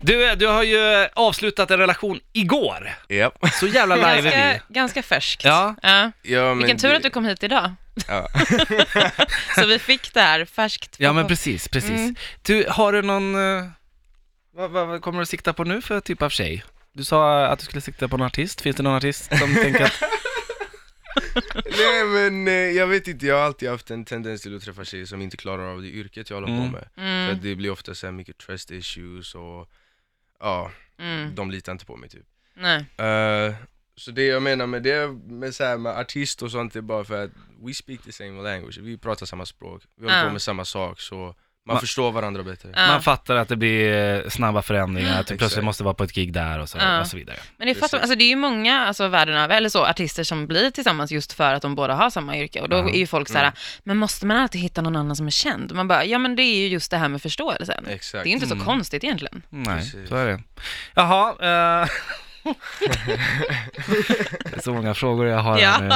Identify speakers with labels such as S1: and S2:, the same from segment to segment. S1: Du, du har ju avslutat en relation igår.
S2: Ja.
S1: Så jävla live är vi.
S3: Ganska, ganska färskt.
S1: Ja.
S2: ja men
S3: Vilken tur
S2: det-
S3: att du kom hit idag.
S2: Ja.
S3: Så vi fick det här färskt.
S1: Ja, men precis, precis.
S3: Mm.
S1: Du, har du någon... eh, Vad, vad, vad kommer du sikta på nu för typ av tjej? Du sa att du skulle sikta på en artist. Finns det någon artist som tänker att...
S2: Nej men eh, jag vet inte, jag har alltid haft en tendens till att träffa tjejer som inte klarar av det yrket jag håller
S1: Mm.
S2: på med. För
S3: Mm,
S2: att det blir ofta så här mycket trust issues och ja,
S3: mm,
S2: de litar inte på mig typ.
S3: nej.
S2: Eh, så det jag menar med det, med, så här, med artist och sånt, det är bara för att we speak the same language, vi pratar samma språk, vi håller
S3: Ja.
S2: på med samma sak så man,
S1: Ma-
S2: förstår varandra bättre.
S3: Ja.
S1: Man fattar att det blir eh, snabba förändringar, att du plötsligt
S2: Exakt.
S1: måste vara på ett gig där och så,
S3: Ja.
S1: och så vidare.
S3: Men det, fattar,
S2: Precis.
S3: alltså, det är ju många alltså, världen över, eller så, artister som blir tillsammans just för att de båda har samma yrke. Och då
S1: Ja.
S3: är ju folk så här,
S2: Mm.
S3: men måste man alltid hitta någon annan som är känd? Man bara, ja men det är ju just det här med förståelsen. Det
S2: Exakt.
S3: är ju inte så
S1: Mm.
S3: konstigt egentligen.
S1: Nej,
S2: Precis.
S1: så är det. Jaha, eh, det är så många frågor jag har här nu.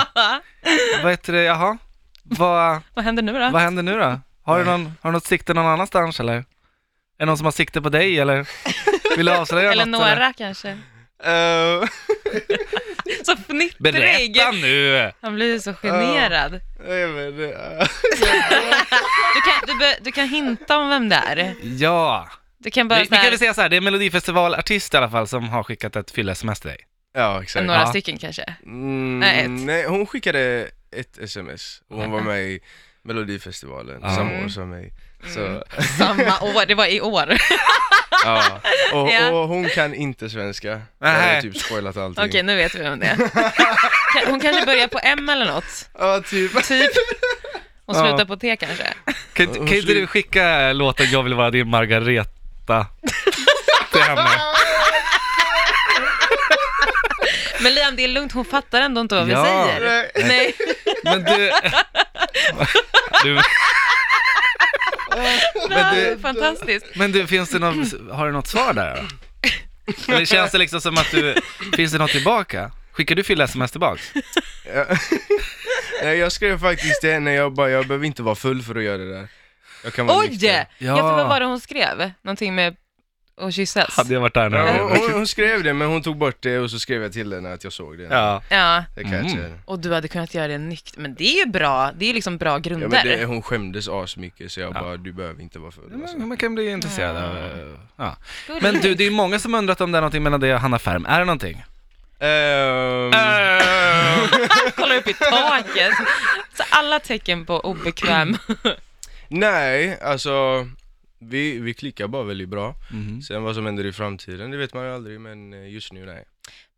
S1: Vad heter det, jaha? Vad,
S3: Vad händer nu då?
S1: vad händer nu då? Har du, någon, har du något sikte någon annanstans eller? Är det någon som har sikte på dig eller? Vill du avslöja
S3: Eller
S1: något? eller?
S3: några kanske.
S2: Eh,
S3: Så fnittrig!
S1: Berätta nu!
S3: Han blir ju så generad.
S2: nej, men, eh,
S3: Du kan, du, be, du kan hinta om vem det är.
S1: Ja,
S3: Du kan bara
S1: vi, vi
S3: så
S1: kan
S3: här,
S1: väl säga så här, det är en melodifestivalartist i alla fall som har skickat ett fylla-sms till dig.
S2: ja exakt.
S3: några
S1: Ja.
S3: stycken kanske.
S2: Mm,
S3: Nej,
S2: nej,
S3: ett.
S2: hon skickade ett sms och hon var med i Melodifestivalen
S1: Ja.
S2: samma år som mig. Så,
S3: Samma år, det var i år.
S2: ja. Och,
S3: Ja.
S2: och hon kan inte svenska, jag
S1: Nej.
S2: har typ spoilat allting.
S3: Okej, nu vet vi vem det är. Kan- Hon kanske börjar på M eller något.
S2: Ja, typ.
S3: Typ. Hon
S1: Ja.
S3: slutar på T kanske.
S1: Kan, inte- kan inte du skicka låten Jag vill vara din Margareta till henne?
S3: Men Liam, det är lugnt, hon fattar ändå inte vad vi
S1: Ja.
S3: säger.
S2: Nej.
S3: Nej,
S1: Men du... du
S3: det här
S2: det-
S3: är fantastiskt.
S1: Men du, finns det något, har du något svar där då? Eller känns det liksom som att du, finns det något tillbaka? Skickar du fylla sms tillbaks?
S2: Ja. Nej, jag skrev faktiskt det när jag bara, jag behöver inte vara full för att göra det där. Jag kan vara
S3: Oj!
S2: nykter.
S3: Ja, för vad var det hon skrev? Någonting med att kyssas?
S1: Hade jag varit där
S2: Ja,
S1: nu?
S2: hon, hon, hon skrev det men hon tog bort det och så skrev jag till henne att jag såg det.
S1: Ja.
S3: Ja,
S2: Det kan jag
S1: Mm.
S2: inte säga.
S3: och du hade kunnat göra det nykt. Men det är ju bra, det är ju liksom bra
S2: Ja,
S3: grunder.
S2: men det, hon skämdes asmycket så jag bara, du behöver inte vara full. Alltså.
S1: Man kan bli intresserad av... eh, Ja.
S3: Gulligt.
S1: Men du, det är många som undrat om det är någonting mellan dig och Hanna Färm. Är det någonting?
S2: Ehm,
S3: kollar upp i taket. Så alla tecken på obekväm.
S2: Nej, alltså vi, vi klickar bara väldigt bra.
S1: Mhm.
S2: Sen vad som händer i framtiden, det vet man ju aldrig men eh, just nu nej.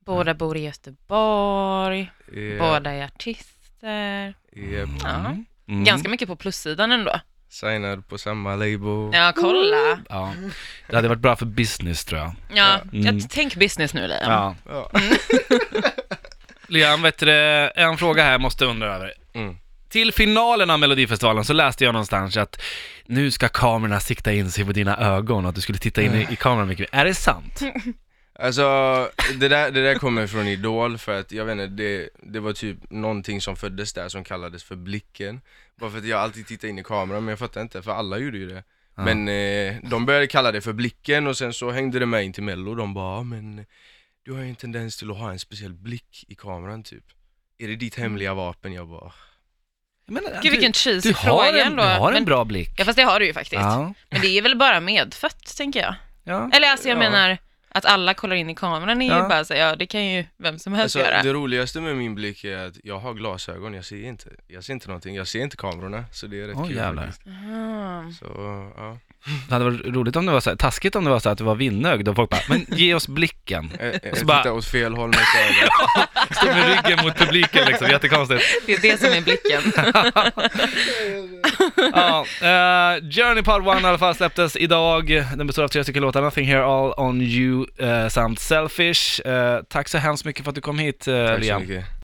S3: Båda bor i Göteborg,
S2: Eh,
S3: båda är artister.
S2: eh,
S3: Ja.
S1: Mm.
S3: Ganska mycket på plussidan ändå.
S2: Signad på samma label.
S3: Ja, kolla.
S1: Ja. Det hade varit bra för business tror jag.
S3: Ja,
S1: Mm.
S3: jag, tänk business nu Liam.
S1: Ja.
S2: Ja.
S1: Liam, vet du, det, en fråga här måste jag undra över.
S2: Mm.
S1: Till finalen av Melodifestivalen så läste jag någonstans att nu ska kamerorna sikta in sig på dina ögon och att du skulle titta in i, i kameran mycket mer. Är det sant?
S2: Alltså det där, det där kommer från Idol för att jag vet inte, det, det var typ någonting som föddes där som kallades för blicken Bara för att jag alltid tittar in i kameran men jag fattar inte för alla gjorde ju det Men eh, de började kalla det för blicken och sen så hängde det med in till mello de bara "Ja, men du har ju en tendens till att ha en speciell blick i kameran typ Är det ditt hemliga vapen? Jag bara
S1: Men,
S3: Gud vilken cheesy
S1: du har
S3: fråga
S1: en,
S3: ändå.
S1: du har en
S3: men,
S1: bra blick.
S3: ja fast det har du ju faktiskt.
S1: Ja,
S3: Men det är väl bara medfött tänker jag.
S1: ja.
S3: Eller alltså jag
S2: Ja.
S3: menar att alla kollar in i kameran är
S1: Ja.
S3: ju bara så, ja det kan ju vem som helst
S2: Alltså
S3: göra.
S2: det roligaste med min blick är att jag har glasögon, jag ser inte, jag ser inte någonting, jag ser inte kamerorna så det är rätt
S1: Oj,
S2: kul
S1: jävlar.
S2: faktiskt.
S3: Ah.
S2: Så ja,
S1: Det hade varit roligt om det var så här, taskigt om det var så här att du var vinnögd och folk bara, men ge oss blicken.
S2: Eh, eh,
S1: så bara-
S2: titta åt fel håll med ögonen
S1: Stå med ryggen mot publiken liksom, jättekonstigt.
S3: Det är det som är blicken.
S1: Ja, eh, Journey Part 1 i alla fall släpptes idag. Den består av tre stycken låtar, Nothing Here All On You eh, samt Selfish. Eh, tack så hemskt mycket för att du kom hit eh,
S2: Tack så
S1: Liam.
S2: mycket.